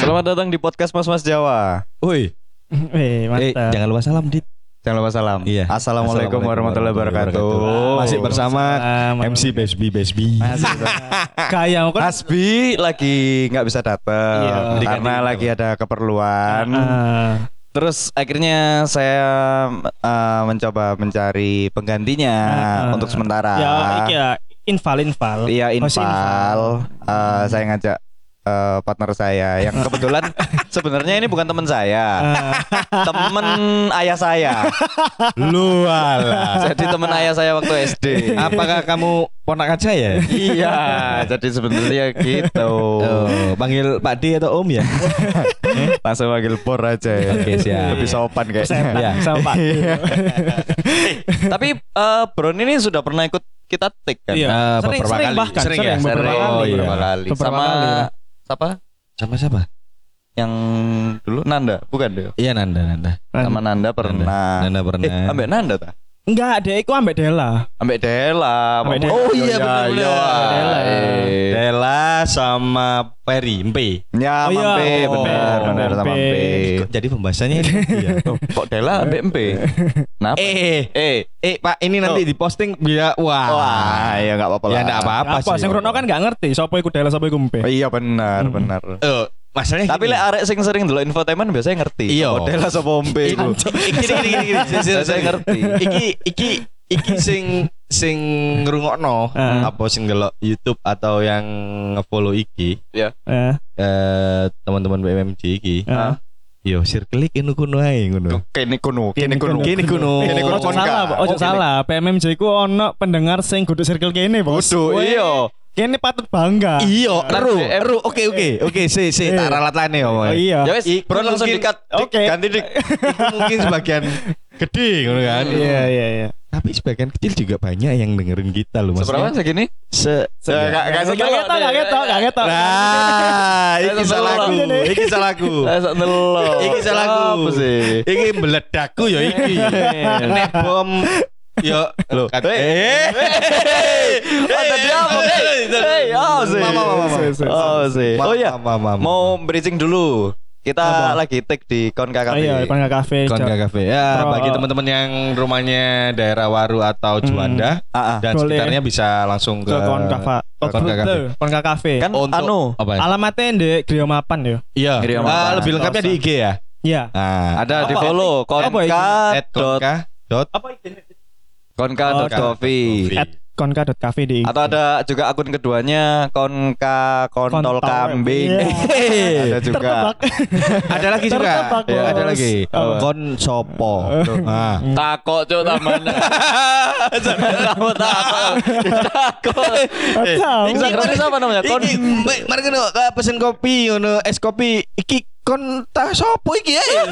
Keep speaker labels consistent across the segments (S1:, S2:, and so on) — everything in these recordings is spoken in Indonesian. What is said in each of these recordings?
S1: Selamat datang di podcast Mas Mas Jawa.
S2: Woi,
S3: Eh,
S2: eh,
S3: mantap.
S2: jangan lupa salam, Dit.
S1: Jangan lupa salam.
S2: Iya.
S1: Assalamualaikum,
S2: Assalamualaikum
S1: warahmatullahi wabarakatuh.
S2: wabarakatuh. Masih bersama
S3: Sama-
S2: MC Besbi Besbi.
S3: Masih kayak mau kan
S1: Hasbi lagi nggak bisa datang
S3: Iya.
S1: karena
S2: Diganti.
S1: lagi ada keperluan.
S3: Ah,
S1: Terus akhirnya saya eh, mencoba mencari penggantinya
S3: Ah.
S1: Nah, untuk sementara.
S3: ya iki ya infal infal.
S1: Iya
S3: Host
S1: Infal. Eh, saya ngajak eh, partner saya yang kebetulan sebenarnya ini bukan teman saya,
S3: Ah,
S1: teman ayah saya.
S2: Lu ala.
S1: Jadi teman ayah saya waktu SD.
S2: Apakah kamu ponak aja ya?
S1: iya, jadi sebenarnya gitu.
S2: Oh, panggil Pak D atau Om ya?
S1: Langsung panggil por aja ya.
S2: Oke, siap.
S1: Lebih sopan
S3: saya
S1: kayaknya.
S2: Iya.
S3: sama Pak.
S1: Tapi eh, Bron ini sudah pernah ikut kita take kan?
S3: Iya.
S2: Eh,
S3: Sering-
S2: beberapa
S3: sering
S2: kali.
S3: bahkan,
S2: Sering
S3: sering
S2: ya?
S3: beberapa
S2: Sering.
S3: kali.
S2: Oh, iya.
S1: Beberapa kali.
S3: Beberapa
S1: Sama
S3: kali ya. lah.
S1: siapa?
S2: Sama siapa?
S1: Yang dulu Nanda, bukan deh.
S2: Iya Nanda, Nanda.
S1: Sama Nanda
S2: Nanda,
S1: pernah.
S2: Nanda pernah.
S1: Eh, ambek Nanda ta?
S3: Enggak, deh, iku ambek Della.
S1: Ambek Dela.
S3: Ambek Dela.
S1: Oh iya
S2: Iya,
S1: benar.
S2: iya.
S1: Dela.
S3: Dela.
S2: Della sama Peri, Mpe.
S1: Ya,
S3: Oh, iya.
S1: Mampe, benar,
S2: Oh,
S1: benar sama
S3: Mampe.
S1: Mampe.
S2: Kok jadi pembahasannya ini? Iya.
S1: Kok Dela ambek Mpe? Kenapa?
S2: Eh,
S1: eh.
S2: eh Pak, ini nanti diposting biar wah.
S1: Wah, ya enggak apa-apa.
S2: Ya
S1: lah.
S2: enggak apa-apa
S3: Apa,
S2: sih.
S3: sing Rono kan enggak ngerti sapa iku Della, sapa iku Mpe.
S1: Iya benar, benar.
S2: Eh, masalahnya
S1: Tapi
S2: gini.
S1: lek arek sing sering delok infotainment biasanya ngerti.
S2: Iya.
S1: Model lah sapa ombe iku.
S2: iki iki iki Iya,
S1: iya,
S2: iki sing- sing-
S1: Saya
S2: sing-
S1: ngerti.
S2: iki iki iki sing sing ngrungokno
S3: Heeh.
S2: apa sing delok YouTube atau yang nge-follow iki
S1: Ya.
S3: Eh,
S2: eh teman-teman BMMG iki
S3: eh.
S2: yo circle iki ngono kuno ae ngono
S1: Kene kuno, kene
S3: Kene
S1: kuno.
S3: kuno.
S2: kene kuno
S1: Kene kuno.
S3: Ojo
S1: Konka.
S3: salah, Pak. ojo
S1: Oh,
S3: salah. PMMJ ku ono pendengar sing kudu circle kene, Bos.
S1: Kudu,
S3: Weh,
S1: iya.
S3: Kene patut bangga.
S2: iya eru
S1: Nanti, eh.
S2: eru oke oke oke si si tak ralat lane
S3: Oh,
S2: omongnya.
S3: iya.
S1: Ya wis,
S2: Iku
S1: bro langsung
S2: mungkin-
S1: dikat. Dik,
S3: Oke.
S1: Ganti dik.
S2: Itu mungkin sebagian gede ngono kan
S3: Iya, iya, iya.
S2: tapi sebagian kecil juga banyak yang dengerin kita loh
S1: Seberapa
S2: maksudnya
S1: segini?
S2: se
S1: Se- Eh, Nggak nggak
S3: Nggak
S1: sedelok,
S3: ketok, nggak
S1: Dik.
S3: ketok, nggak ketok.
S2: Nah,
S1: Ayo,
S2: iki salahku,
S3: tolong.
S2: iki salahku.
S1: Lah, sak delok.
S2: Iki salahku.
S1: Apa sih?
S2: Iki meledakku ya iki. Nek bom ya lho.
S1: Kat- Eh. Oh, tadi apa, Dik? Hei, oh, sih.
S2: Mama, mama, mama.
S1: Oh, sih. Oh iya.
S2: mama, mama.
S1: Mau bridging dulu. Kita lagi take di Kon
S3: Oh,
S1: KKB.
S3: Iya, Pangga Cafe.
S2: Konka Cafe. Ya,
S3: Pro-
S2: bagi teman-teman yang rumahnya daerah Waru atau Juanda
S1: Ah, ah.
S2: dan
S3: Boleh.
S2: sekitarnya bisa langsung ke
S3: ke Konka Fa-
S2: Konka
S3: Konka
S2: Cafe.
S3: Cafe. Konka Cafe.
S1: Kan
S2: Untuk-
S1: anu
S2: apa ya?
S3: Alamatnya di Griya Mapan ya.
S2: Iya.
S1: Griya Mapan.
S2: Ah, lebih lengkapnya di IG ya.
S3: Iya.
S1: Ah,
S2: Nah,
S1: ada di
S3: Apa?
S1: follow
S3: Apa itu?
S1: konka dot
S2: Oh, konka.dot
S3: Apa ini?
S1: konka dot coffee.
S3: At konka.cafe di.
S1: Atau ada juga akun keduanya Konka Kontol
S3: Kontol.
S1: Kambing.
S3: Iya.
S1: Hehehe. ada juga.
S3: Tertebak.
S2: ada lagi juga.
S3: Tertebak,
S2: Ya, ada
S3: Bos.
S2: lagi.
S3: Apa?
S2: Kon sopo. Nah.
S1: Takok cuk taman. Takok takok. Takok.
S3: Eh, Tahu.
S1: Instagramnya siapa namanya? Kon
S2: Iki, me- mari ngono eh, pesen kopi ngono es kopi iki kon ta sopo iki ya.
S1: Iya,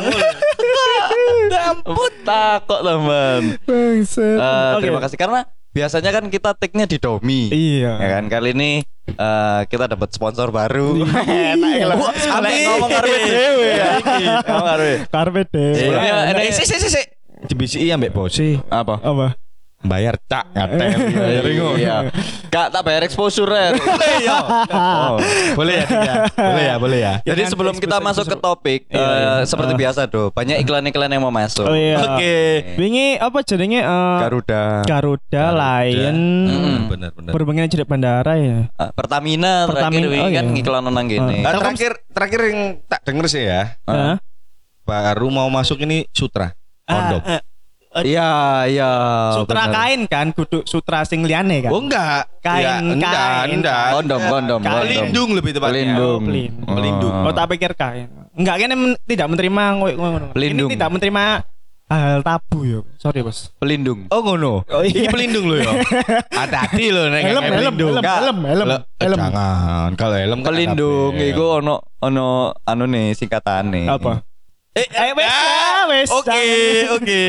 S1: Ampun takok taman.
S3: Bangset.
S1: Eh,
S3: Oke.
S1: terima kasih karena biasanya kan kita take-nya di Domi.
S3: Iya.
S1: Ya kan kali ini eh, kita dapat sponsor baru.
S3: Iya.
S1: ya,
S3: Wah, Iya.
S1: Sampai ngomong karo dhewe ya iki. Ngomong karo dhewe.
S3: Karpet deh.
S1: Sebelumnya ada
S2: Eh, sik sik sik, sik. Dibisiki ambek bose
S1: apa?
S3: Apa?
S2: bayar cak ngatel bayar ngono.
S1: Iya. Kak tak bayar exposure. Ren.
S2: Iya.
S1: Oh.
S2: Boleh ya, Dik, ya? boleh ya, boleh ya.
S1: Jadi
S3: Jangan
S1: sebelum kita
S3: expose-
S1: masuk ke topik,
S3: kan? Iya,
S1: eh,
S3: iya.
S1: seperti
S3: Ah.
S1: biasa do, banyak iklan-iklan yang mau masuk.
S3: Oh iya.
S2: Oke.
S3: Wingi apa jenenge eh,
S1: Garuda,
S3: Garuda Lion
S1: Mm.
S2: Benar benar.
S3: berhubungan jadi bandara ya.
S1: Ah, Pertamina, terakhir
S3: Pertamina,
S1: ini
S3: oh
S1: kan
S3: iya.
S1: iklan nang gini.
S2: Eh, terakhir terakhir yang tak denger sih ya.
S1: Ah.
S3: Hah?
S2: Baru mau masuk ini sutra. Kondom.
S3: Ah, eh,
S1: Iya, iya.
S3: sutra
S1: benar.
S3: kain kan, kudu sutra sing liane kan.
S2: Oh enggak.
S3: Kain,
S2: Ya, enggak,
S3: kain.
S2: enggak.
S1: Kondom, kondom,
S3: Kain.
S1: kondom.
S2: Pelindung lebih tepatnya.
S1: Pelindung.
S3: Pelindung.
S1: Oh.
S2: Pelindung.
S3: Oh tak pikir kain. Enggak kene men- tidak menerima ngoyo ngono.
S1: Pelindung.
S3: Ini tidak menerima hal tabu ya. Sorry, Bos.
S1: Pelindung.
S2: Oh ngono.
S3: Oh,
S2: Ini
S3: iya.
S2: pelindung lo ya. Hati-hati lo nek
S3: Helm,
S2: kayak
S3: helm,
S2: pelindung.
S3: helem,
S1: Enggak.
S3: helem, helm,
S2: Lah, eh,
S3: helm.
S2: Jangan. Kalau helm kan
S1: Pelindung
S2: ada
S1: iku ono ono anu nih singkatane.
S3: Apa? Eh, eh wes, ah, wes.
S2: Oke, oke.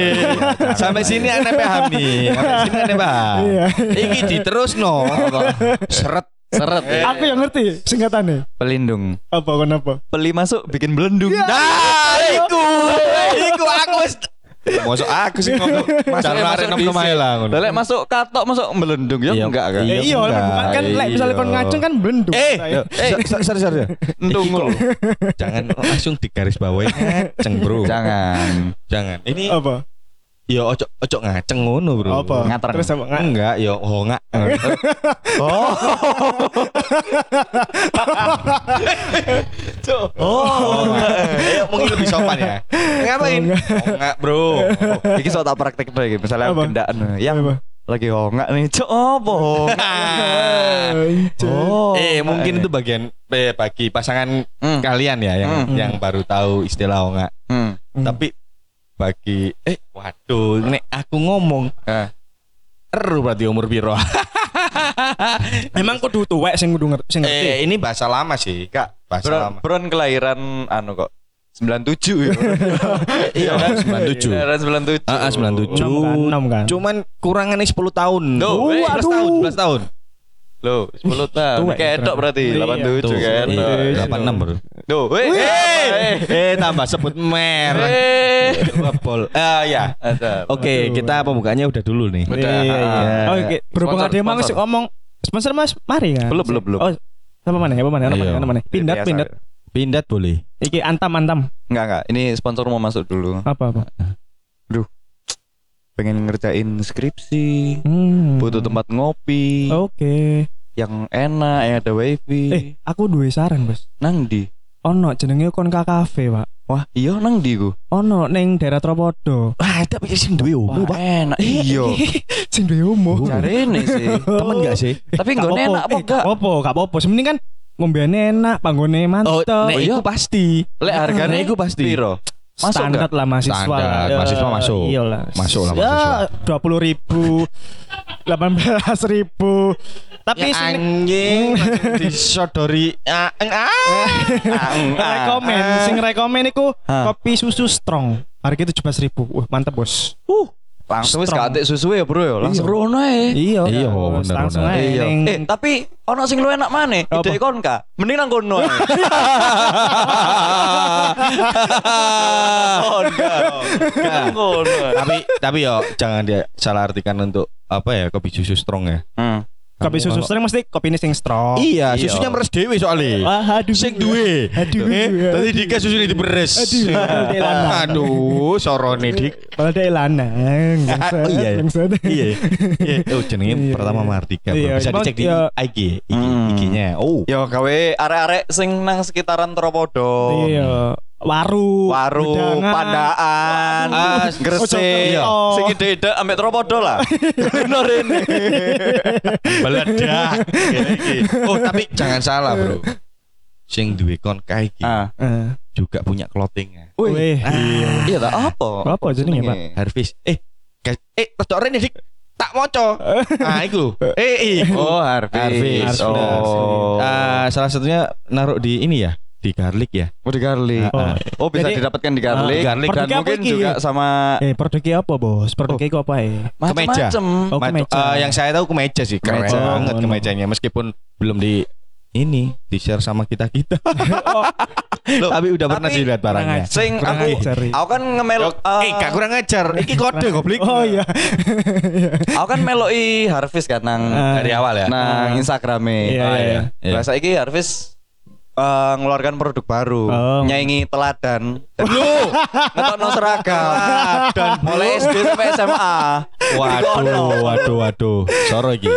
S2: Sampai sini aneh pahami. Sampai sini aneh paham.
S3: Iya.
S2: Iki diterusno. Seret.
S1: Seret. ya.
S3: Aku yang ngerti singkatannya.
S1: Pelindung.
S3: Apa kenapa? Iya.
S1: Nah! Peli masuk bikin belendung.
S2: Nah, Ah, iku. Iku aku wis
S4: Masuk aku sih ngomong.
S1: Cara
S4: Cara
S1: arek nom
S4: nom kemaela ngono.
S1: Lelek masuk katok masuk melendung ya
S2: Iya.
S1: enggak kan?
S3: Eh, iya, lah, bukan kan lek misalnya kon
S2: Iya.
S3: ngacung kan belendung.
S4: Eh,
S3: Saya.
S4: eh, sorry sorry.
S1: Entungul.
S3: Iya.
S2: Jangan langsung digaris bawahi ngaceng, Bro.
S1: Jangan.
S2: Jangan. Ini
S3: apa?
S2: ya ojo ojo ngaceng ngono, Bro.
S3: Apa?
S1: Ngater.
S3: Terus apa? Nga-
S2: Enggak, ya oh enggak.
S1: Oh.
S2: Oh, enggak. mungkin lebih sopan ya.
S4: Ngapain?
S2: Oh enggak, Bro.
S1: Iki sok tak praktek deh misalnya
S3: Apa?
S1: gendaan yang
S3: Apa?
S1: lagi hongak nih. Cok opo?
S2: Ah.
S3: Anjir.
S1: Oh.
S2: eh, mungkin
S1: enggak,
S2: itu bagian eh, bagi pasangan
S1: Hmm.
S2: kalian ya yang
S1: Hmm.
S2: yang baru tahu istilah oh enggak.
S1: ya. Hmm.
S3: Hmm.
S2: Tapi bagi eh waduh, nek aku ngomong
S1: Eh.
S2: Eru berarti umur piro?
S3: Emang kudu tuwek sing kudu ngerti sing ngerti.
S2: eh, ini bahasa lama sih, Kak. Bahasa
S1: Bron,
S2: lama.
S1: Bron kelahiran anu kok 97 ya.
S2: Iya, kan? 97.
S1: Kelahiran 97.
S2: Ah, ah, 97.
S3: Enam kan, enam kan.
S2: Cuman kurangannya 10 tahun.
S1: Tuh,
S2: Oh,
S1: eh,
S2: 11
S3: aduh.
S2: tahun, 11 tahun.
S1: Loh, 10 tahun.
S3: Tua ya,
S1: Ketok
S3: Bron.
S1: berarti kan?
S3: Iya.
S1: 87
S2: eh,
S1: ketok.
S3: iya.
S2: 86 bro.
S1: Tuh, weh.
S2: Eh,
S1: Eh.
S2: eh tambah sebut merek.
S1: Eh.
S2: Bol.
S1: Ah,
S2: Eh
S1: iya.
S2: ya.
S1: Ada.
S2: Oke,
S3: Aduh.
S2: kita pembukaannya udah dulu nih.
S1: Betul.
S3: Iya, iya, iya.
S2: Ah.
S3: Oke, berhubung
S1: Sponsor,
S3: ada emang
S1: sponsor.
S3: sih ngomong sponsor Mas, mari kan.
S1: Belum, belum, belum.
S3: Oh, apa mana? Apa mana? Apa
S2: Iya.
S3: mana? Apa mana? Pindat,
S1: Biasa.
S3: pindat.
S2: Pindat boleh.
S3: Iki antam, antam.
S1: Enggak, enggak. Ini sponsor mau masuk dulu.
S3: Apa apa?
S1: Pengen ngerjain skripsi.
S3: Hmm.
S1: Butuh tempat ngopi
S3: Oke.
S1: yang enak, yang ada wifi.
S3: Oh. Eh, aku duwe saran, Bos.
S1: Nang di?
S3: Ono jenenge Konka Cafe, Pak.
S1: Wah, iya nang di ku.
S3: Ono ning daerah Tropodo.
S2: Wah, ada pikir sing duwe
S1: Wah, enak. Iya.
S3: sing duwe umum.
S1: Cari ini sih.
S3: Oh,
S2: Temen gak sih?
S1: Tapi enggak
S3: Gak apa-apa.
S1: enak apa
S3: Eh,
S1: enggak?
S3: Gak apa-apa, gak apa-apa. Sementing kan ngombene enak, panggone Nah,
S2: Oh,
S3: mantep.
S2: nek
S1: iya.
S2: iku pasti.
S1: Lek harganya
S2: Nah, iku pasti.
S1: Piro? Masuk
S3: standar
S1: enggak?
S3: lah mahasiswa
S2: Standar,
S3: Eh,
S2: mahasiswa masuk.
S3: iya lah
S2: Masuk lah mahasiswa.
S3: dua puluh ribu delapan belas ribu
S2: Ya,
S3: tapi sini
S2: anjing langsung disodori ah, eng, ah.
S3: rekomen sing rekomen iku
S1: Ah.
S3: kopi susu strong harga itu belas ribu wah mantep bos
S1: Uh, langsung wis
S3: Strong.
S1: katik susu ya, Bro ya. Langsung
S3: Iya.
S1: rono ae.
S3: iya
S2: Iya,
S3: Bos.
S2: bener,
S3: langsung
S2: bener.
S3: aja
S1: Iya.
S3: neng-
S1: Eh, tapi ono sing lu enak maneh?
S3: Apa?
S1: Ide kon ka. Mending nang kono. ae. Oh, enggak. Nang kono. ae.
S2: tapi tapi yo jangan dia salah artikan untuk apa ya kopi susu strong ya.
S1: Hmm.
S3: kopi
S2: Kamu
S3: susu
S2: kalau-
S3: strong mesti kopi ini sing strong
S2: Iya,
S1: Iya.
S2: susunya meres dewe soalnya.
S3: Wah, Oh, Ah, aduh.
S2: Sing duwe.
S3: Aduh.
S2: Eh, tadi Dika susunya diberes.
S3: Aduh.
S2: Aduh, sorone Dik.
S3: kalau ada lanang bangsat,
S2: Oh, iya.
S3: bangsat.
S2: Iya. Iya, oh jenenge
S3: Iya,
S2: pertama
S3: iya.
S2: Mardika. Bro.
S3: Iya,
S2: Bisa
S3: cuma
S2: dicek di
S3: ya-
S2: IG, IG,
S1: Hmm.
S2: IG-nya. Oh.
S3: Iya,
S1: Yo gawe arek-arek sing nang sekitaran Tropodo.
S3: iya waru
S1: Waru,
S3: Wedangan.
S1: Pandaan, ah,
S2: Waduh.
S1: Gresik,
S3: Ojo ketok.
S1: sing ide-ide ambek Tropodo lah. Bener ini.
S2: Meledak. Kayak iki. Oh, tapi jangan salah, Bro. Sing duwe kon kae iki
S1: Ah.
S3: Eh,
S2: juga punya clothing
S1: Wih. Ah.
S3: weh.
S1: Iya tak apa?
S2: Ah.
S3: Apa jenenge, Pak?
S2: Harvest. Eh, guys, eh, terus rene Dik. Tak moco. Ah, iku. Eh, iku.
S1: Oh, Harvey.
S2: Harvest, bener.
S1: Oh.
S2: Ah, salah satunya naruh di ini ya, di garlic ya.
S1: Oh di garlic.
S2: Ah, ah.
S1: Oh bisa
S3: Jadi-
S1: didapatkan di garlic.
S2: Ah, garlic.
S1: dan
S3: Produknya apa
S1: mungkin
S3: iki?
S1: juga sama
S3: Eh, produknya apa,
S2: Oh.
S3: Bos? Produknya iku apa ya?
S2: Kemeja.
S1: macam-macam.
S3: Oh,
S2: Ma-
S3: kemeja.
S2: eh, yang saya tahu kemeja sih, keren
S1: Kemeja.
S2: banget
S3: Oh,
S2: kemejanya meskipun belum di ini di share sama kita kita. Oh. tapi udah pernah
S1: tapi-
S2: sih lihat barangnya.
S3: Kurang
S1: Sing
S3: Kurang
S1: aku,
S3: ajar, ya.
S1: aku kan ngemel,
S2: Yo, eh, gak kurang ajar. Iki kode goblok.
S3: Oh iya.
S1: aku kan meloi Harvest kan nang
S3: Ah.
S2: Dari awal ya.
S1: nang Instagrame.
S3: Iya,
S2: Ah,
S3: iya.
S2: iya.
S1: Bahasa iki Harvest eh, ngeluarkan produk baru,
S3: Oh.
S1: nyaingi teladan. Lu ngetokno seragam.
S2: Teladan, Bro.
S1: mulai SD sampai SMA.
S2: Waduh, waduh, waduh. Soro iki.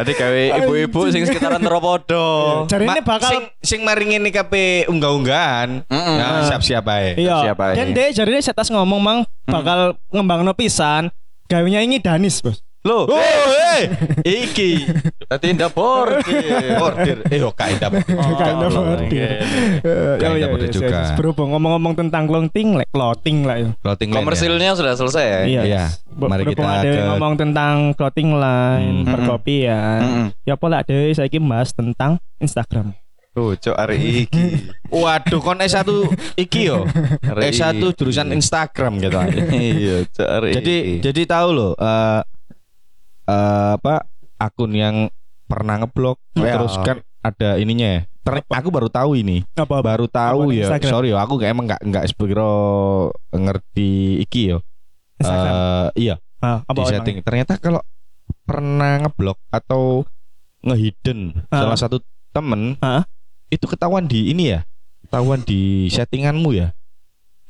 S1: Jadi gawe ibu-ibu sing sekitaran Teropodo.
S3: Cari
S2: Ma-
S3: ini bakal
S2: sing, sing maringin nih KP unggah-unggahan.
S1: Mm-mm.
S2: Nah, siap-siap ae.
S3: Ah. iya.
S1: siapa
S3: Dan
S1: ini?
S3: deh jari ini setas ngomong mang
S2: Hmm.
S3: bakal ngembang no pisan. Gawenya ini Danis, Bos.
S1: Loh,
S2: Oh, hey, iki.
S1: tadi ndak bordir.
S2: Order. Eh, yo kain dapet.
S3: Kain dapet.
S2: Iya,
S3: Eh,
S2: Kayak
S3: iya,
S2: dapur
S3: iya,
S2: juga.
S3: iya, iya. Berhubung ngomong-ngong tentang clothing, like clothing lah ya.
S2: Clothing line ya.
S1: Komersilnya sudah selesai ya.
S3: Iya.
S2: Iya.
S3: Ber-
S2: Mari
S3: Berhubung
S2: kita
S3: ada
S2: ke-
S3: yang ngomong tentang clothing line,
S2: Hmm.
S3: perkopian.
S1: Mm-mm.
S3: Ya pola deh saya ingin bahas tentang Instagram.
S1: Tuh, cok hari iki.
S2: Waduh, kon S1 iki yo.
S1: Hari
S2: S1
S1: ini.
S2: jurusan Instagram gitu.
S1: Iya, cok hari
S2: jadi
S1: iki.
S2: jadi tahu loh eh eh, apa akun yang pernah ngeblok
S1: Ya.
S3: Iya.
S2: terus kan ada ininya ya. Ter- aku baru tahu ini.
S3: apa apa
S2: Baru tahu
S3: Apa
S2: ya.
S3: Instagram?
S2: Sorry ya, aku nggak- emang nggak nggak sebegro ngerti iki yo.
S3: Instagram
S2: Eh, iya,
S3: Ah, apa
S2: di
S3: emang?
S2: setting. Ternyata kalau pernah ngeblok atau ngehidden
S3: Ah.
S2: salah satu temen
S3: Ah.
S2: itu ketahuan di ini ya. Ketahuan di settinganmu ya.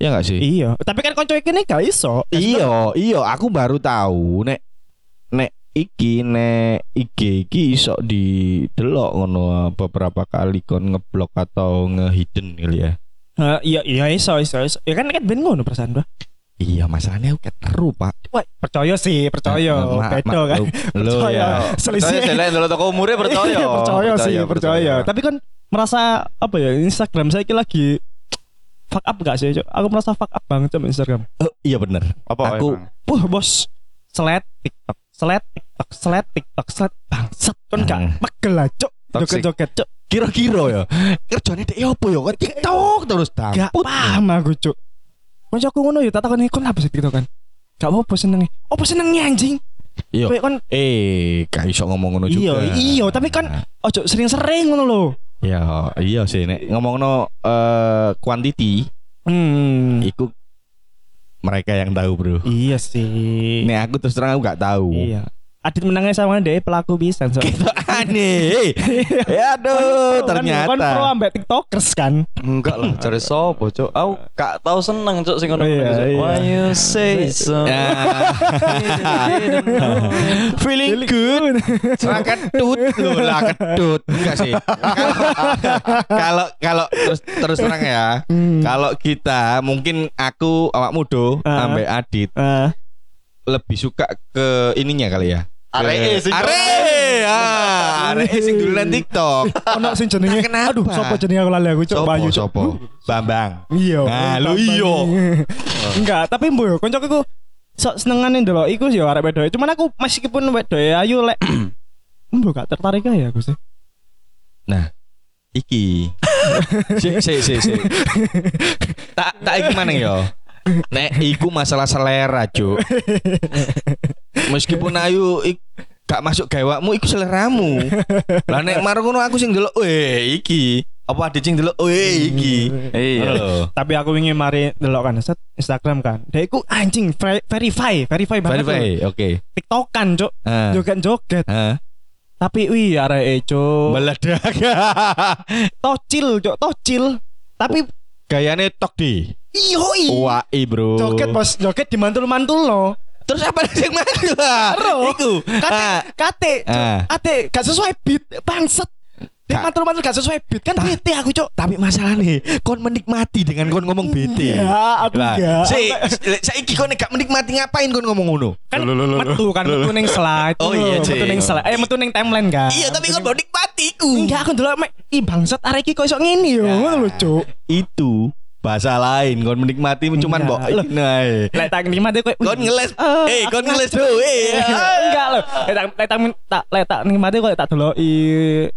S2: Ya nggak sih?
S3: iya tapi kan konco ini gak iso
S2: Iya, iya, aku baru tahu nek nek iki nek IG iki iso didelok ngono beberapa kali kon ngeblok atau ngehidden kali ya.
S3: Eh, iya iya iso iso iso ya kan kan ben ngono perasaan bro
S2: Iya, masalahnya aku keteru, Pak.
S3: Wah, percaya sih
S2: Oh, Eh, iya,
S3: percaya beda kan
S2: Lo ya.
S1: Percaya
S3: selisih
S1: saya lihat dulu toko umurnya percaya.
S3: Iya, percaya sih percaya tapi kan merasa apa ya Instagram saya ini lagi fuck up gak sih Cok? aku merasa fuck up banget sama Instagram
S2: Eh, iya bener.
S1: Apa
S2: Aku
S1: aku
S3: wah bos selet TikTok selet TikTok selet TikTok selet bangsat kan gak
S2: Hmm.
S3: pegel lah cok
S1: Toxic.
S3: joget joget cok
S2: kira-kira ya. Kerjane dek apa ya? Kan TikTok terus tak.
S3: gak paham aku cok Konco aku ngono ya, tak takon kon apa sih TikTok kan? Gak apa-apa senengnya Apa senengnya anjing?
S2: Iya.
S3: Kayak kan, kon
S2: Eh, gak iso ngomong ngono
S3: Iya,
S2: juga.
S3: iya, tapi kan ojo sering-sering ngono loh.
S2: Ya, iya sih nek ngomongno eh quantity
S3: Hmm.
S2: iku mereka yang tahu, Bro.
S3: Iya sih.
S2: Nih aku terus terang aku gak tahu.
S3: Iya. Adit menangnya sama dia pelaku bisa. So.
S2: Itu aneh. ya Eh, aduh,
S3: Kan pro
S2: ternyata.
S3: ambek tiktokers kan.
S1: enggak lah cari sopo cok. Aku gak tahu seneng cok sing ngono.
S3: Iya,
S1: Cok.
S3: iya.
S1: Why you say so?
S3: Eh,
S2: Feeling
S3: good.
S2: Lah ketut Loh, lah ketut enggak sih. Kalau- Kalau kalau terus terus terang ya.
S3: Hmm.
S2: Kalau kita mungkin aku awak mudo
S3: Ah.
S2: ambek Adit
S3: Ah,
S2: lebih suka ke ininya kali ya.
S1: Aree sih.
S2: Are, ah, are sing duluan TikTok.
S3: ono sing jenenge.
S2: Kenapa?
S3: Aduh, sapa jenenge aku lali aku cok
S2: Sopo
S3: Bayu Cok.
S2: sopo? Bambang.
S3: Iya.
S2: Nah, lu
S3: Tambah
S2: iya.
S3: nih. Enggak, tapi mbo yo koncoku iku sok senengane ndelok iku sih ya arek wedoke. Cuman aku meskipun wedoke ayu lek mbo gak tertarik aja aku sih.
S2: iki si si si si tak tak iki mana yo nek iku masalah selera cuk meskipun ayu ik, gak masuk gawakmu iku seleramu lah nek marung ngono aku sing delok weh iki apa ada sing delok weh iki
S1: Iya.
S2: Loh.
S3: Tapi aku ingin mari ndelok kan set Instagram kan. Dia iku anjing ver- verify, verify banget. loh.
S2: verify oke
S3: TikTokan, Cuk.
S2: Ah.
S3: Joget-joget.
S2: Hah?
S3: Tapi wih arek e, Cuk.
S2: meledak
S3: Tocil, Cuk, tocil. Tapi
S2: gayane tok di
S3: yoi.
S2: wai bro
S3: Joget bos, joget dimantul-mantul lo.
S2: terus apa sing maju ah? iku
S3: Kate,
S2: Ah.
S3: kate, Cuk.
S2: Ah.
S3: kate gak sesuai beat, bangset.
S2: Kak.
S3: Dimantul-mantul gak sesuai beat kan bete aku, Cuk.
S2: tapi masalah nih kon menikmati dengan kon ngomong bete
S3: Ya, aku
S2: lah
S3: enggak.
S2: si saiki kon gak menikmati ngapain kon ngomong ngono
S3: kan metu kan metu ning slide.
S2: Oh, iya,
S3: Cuk. metu
S2: Cik.
S3: ning slide. Eh metu ning timeline kan.
S2: iya tapi kon mau nikmati iku
S3: Enggak aku dulu mek i bangsat arek iki kok iso ngene yo
S2: Ya.
S3: ngono lho cuk.
S2: itu bahasa lain kon menikmati cuman mbok
S3: Enggak.
S2: iki, nah, eh.
S3: Lek tak nikmat kowe.
S2: kon ngeles
S3: Ah,
S2: eh kon ngeles do eh
S3: Enggak lho. Lek tak lek tak tak lek tak nikmati kowe tak deloki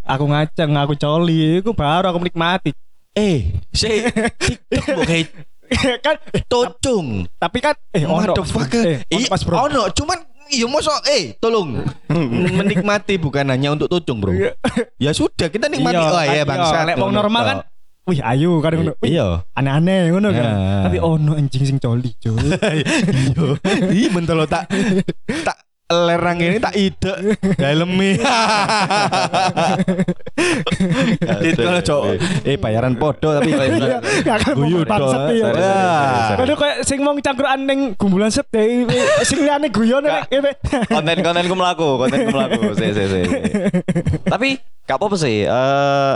S3: aku ngaceng aku coli iku baru aku menikmati.
S2: eh si TikTok mbok kayak
S3: kan eh,
S2: tocung
S3: tapi kan eh ono. Eh,
S2: motherfucker
S3: ono
S2: Ih,
S3: pas bro.
S2: ono cuman Iya mosok eh tolong menikmati bukan hanya untuk tocung bro.
S3: Iya.
S2: Ya sudah kita nikmati.
S3: Iya,
S2: Oh ya
S3: kan,
S2: bangsa.
S3: iya. Lek wong normal kan wih ayu kan ngono. Wih,
S2: Iya.
S3: Aneh-aneh ngono kan.
S2: Nah.
S3: Tapi ono anjing sing coli cuk.
S2: Iya. Ih bentar lo tak tak lerang ini tak ide dalemi. Dit kalau cok eh bayaran podo tapi
S3: Gak Iya, kan
S2: Guyu,
S3: ngomong bangsat
S2: dong.
S3: iya.
S2: Sorry, sorry, sorry.
S3: Kadu kayak sing wong cangkruan ning gumbulan sep deh, sing liane guyon nek eh, eh.
S1: konten-kontenku melaku, kontenku melaku. Si, si, si. Tapi gak apa-apa sih. Eh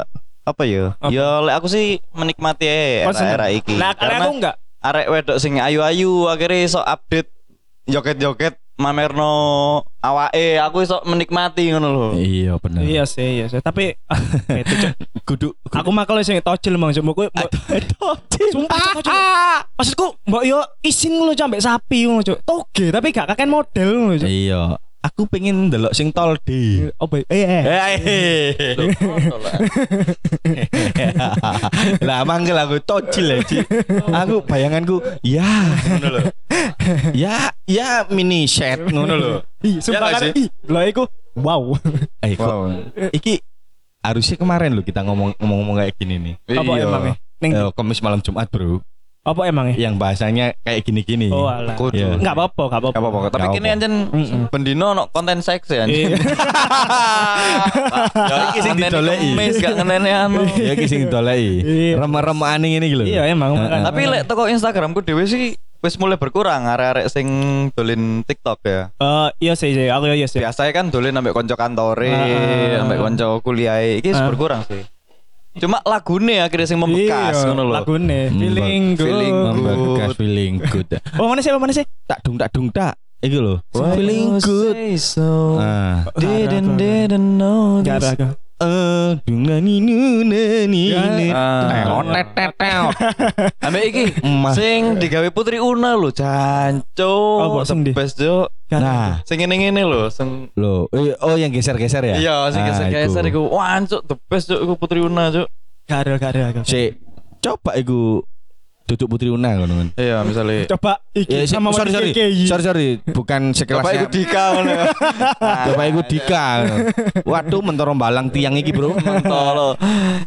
S1: apa ya? Ya lek aku sih menikmati eh
S3: Kon seneng.
S1: era-era iki.
S3: Nah, karena aku enggak.
S1: arek wedok sing ayu-ayu akhirnya iso update joget-joget mamerno awake aku iso menikmati ngono lho.
S2: Iya benar.
S3: Iya sih, iya sih. Tapi itu, Cuk.
S2: Kudu
S3: aku mah kalau sing tocil mang Cuk. mbokku. mbok- Eh, Sumpah Cuk, Cuk. Maksudku mbok yo isin ngono Cuk, ambek sapi ngono Cuk. Toge tapi gak kakek model ngono Cuk.
S2: Iya. Aku pengen delok sing tol di.
S3: Apa? Eh, eh.
S2: lah manggil aku tocil ya Ci. aku bayanganku ya ngono lho. ya ya mini set ngono lho Ya,
S3: Ih,
S2: Iya
S3: sumpah
S2: gak
S3: kan.
S2: sih?
S3: Ih, lho iku wow.
S2: eh kok iki harusnya kemarin loh kita ngomong ngomong kayak gini nih.
S3: Apa
S2: Iya.
S3: emangnya? Neng,
S2: Eh, Kamis malam Jumat, Bro.
S3: apa emangnya?
S2: Yang bahasanya kayak gini-gini.
S3: Oh, alah.
S1: Kudu.
S2: Iya.
S3: Enggak apa-apa, enggak
S1: Gak
S3: apa-apa.
S1: apa-apa. Tapi
S2: Gak
S1: kini
S2: apa.
S1: anjen pendino no konten seks ya. anjen.
S3: Iya.
S1: Ya iki sing
S2: Konten
S1: didoleki.
S2: kemis,
S1: gak ngenene anu.
S2: ya ki sing dolei.
S3: Iya.
S2: Remeh-remeh aning ini gitu.
S3: Iya, emang.
S2: Heeh.
S1: Tapi lek toko Instagramku dhewe sih wis mulai berkurang arek-arek sing dolin TikTok ya.
S3: Eh, iya sih, sih. Aku iya sih.
S1: Biasanya kan dolin ambek kanca kantore,
S3: Ah.
S1: ambek kanca kuliahe. Iki wis
S3: Ah.
S1: berkurang sih. Cuma lagune akhirnya sing membekas ngono lho.
S3: Iya, Lagune,
S2: Hmm,
S3: feeling good.
S1: feeling
S2: Membekas feeling good.
S3: Oh, mana sih? Mana sih?
S2: tak dung tak dung tak. Iku lho. iya,
S1: Feeling good. So,
S2: Ah.
S1: didn't didn't know
S3: Enggak ada.
S1: this.
S3: enggak.
S2: Eh, dung na ni nu na ni ni.
S3: Eh, oh,
S1: Ah.
S2: Teot, tet, tet, teot.
S1: Ambek iki
S2: Emas.
S1: sing digawe Putri Una lho, janco.
S3: Apa, Oh, sing di-
S1: Sebes, Cuk.
S3: Enggak ada.
S2: Nah,
S1: Sing ngene-ngene lho, sing
S2: Loh, eh, oh yang geser-geser ya?
S1: Iya, sing
S2: Ah,
S1: geser-geser
S2: iku.
S1: iku. Wah, cuk, the best cuk iku Putri Una, cuk.
S3: Enggak ada, enggak ada, enggak ada.
S2: Sik, coba iku duduk Putri Una ngono kan.
S1: Iya, misalnya
S3: Coba iki
S2: Ya, sik,
S3: sama
S2: sorry, sorry. Sorry, sorry. Bukan sekelasnya.
S1: Bapak iku Dika ngono.
S2: Bapak iku Dika. Waduh, mentoro balang tiang iki, Bro.
S1: Tolo.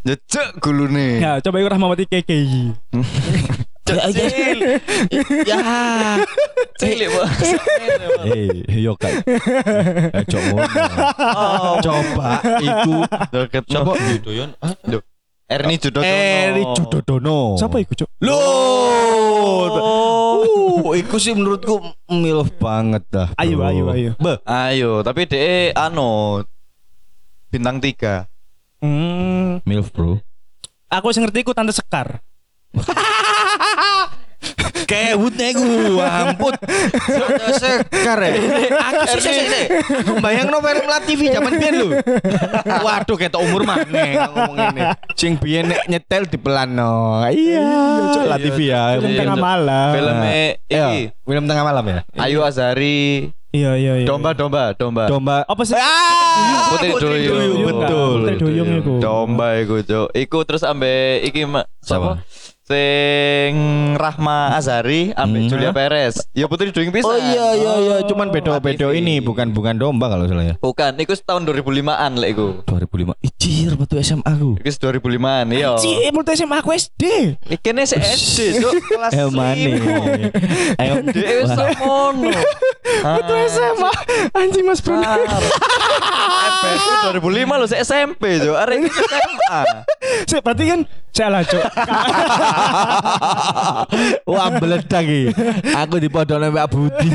S1: Jejek gulune.
S3: Ya, coba iku Rahmawati KKI.
S1: Cecil. Ya. Cilik, Pak.
S2: Eh, yo kak. Eh, cok ngono.
S1: Oh,
S2: Coba iku
S1: joget.
S5: Siapa Yudhoyon? Hah?
S1: Erni Judono.
S2: Eri Eh, Judodono.
S3: Siapa iku, Cuk?
S2: Loh.
S1: Oh.
S2: Uh, iku sih menurutku milf banget dah. bro.
S3: Ayo, ayo, ayo.
S2: Beh,
S1: Ayo, tapi de anu bintang tiga
S3: Hmm,
S2: milf, Bro.
S3: aku sing ngerti iku Tante Sekar.
S2: Kewutnya iku, ampun. Sekar ya. Aku
S3: Eh,
S2: sih sih sih. Aku bayang no film La TV zaman biyen lho. Waduh, ketok umur maneh ngomong ngene. Sing biyen nek nyetel dipelano. Iya, Cok, La TV ya.
S3: Film
S1: Iya,
S3: tengah
S1: Cuk.
S3: malam. Nah,
S1: Filmnya
S2: Iya,
S1: iki
S2: film tengah malam ya.
S1: Ayu Azari
S3: Iya, iya, iya.
S1: Domba Domba Domba
S2: Domba.
S3: Apa sih? Iya,
S2: Ah,
S1: Putri Duyung.
S2: Duyung, betul.
S3: Putri Duyung iku.
S1: Domba iku cuk. Iku terus ambe iki mak
S2: Siapa?
S1: sapa? Sing Rahma Azari ambe
S2: Hmm.
S1: Julia Perez. Ya putri doing pisan.
S2: Oh iya iya iya, cuman bedo-bedo
S1: ATV.
S2: ini bukan bukan domba kalau salah ya.
S1: Bukan, iku tahun 2005-an lek iku.
S2: 2005. Ijir batu SMA aku.
S1: Iku 2005-an iya.
S2: eh,
S3: Cih, mulai SMA aku SD.
S1: Iki ne sik SD cuk, kelas
S3: Eh,
S2: El mane.
S1: 5.
S2: Ayo.
S1: Dek wis
S2: Wah,
S1: ngono. Itu
S3: SMA. Anjing Mas Bro.
S1: FPS 2005 lho sik SMP cuk. Arek iki SMA.
S3: Sik, berarti kan salah, Cuk.
S2: Wah meledak iki. Aku dipodone Mbak Budi.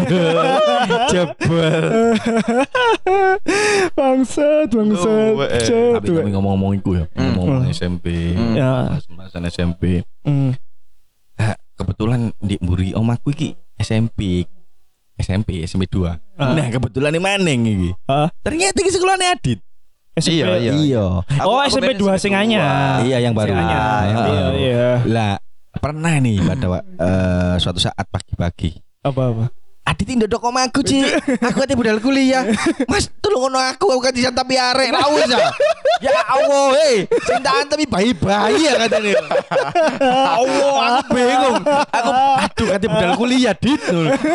S2: Jebol.
S3: Bangsat, bangsat.
S1: Tuh, eh.
S3: Cuk,
S2: Tapi
S3: tuh.
S2: kami ngomong-ngomong iku ya, ngomong SMP.
S1: Hmm.
S3: Ya.
S2: Pembahasan SMP.
S3: Hmm.
S2: Nah, kebetulan di Muri om aku iki SMP. SMP, SMP 2.
S3: Ah.
S2: Nah, kebetulan ini maning iki.
S3: Ah,
S2: Ternyata iki sekolahane Adit.
S3: SMP.
S1: Iya, iya. Aku-
S3: Oh,
S1: aku
S3: SMP
S1: pengen
S3: 2 sing anyar.
S2: Iya, yang baru.
S3: Sing anyar.
S2: Ah, yang
S3: Iya,
S2: baru.
S3: iya.
S2: Lah, pernah nih pada wa- eh, suatu saat pagi-pagi
S3: Apa-apa?
S2: Adit ini dodok sama aku Ci Aku katanya budal kuliah Mas tolong ngono aku Aku katanya tapi arek Lalu ya Ya Allah hei Cintaan tapi bayi-bayi ya katanya Allah aku bingung Aku aduh katanya budal kuliah Dit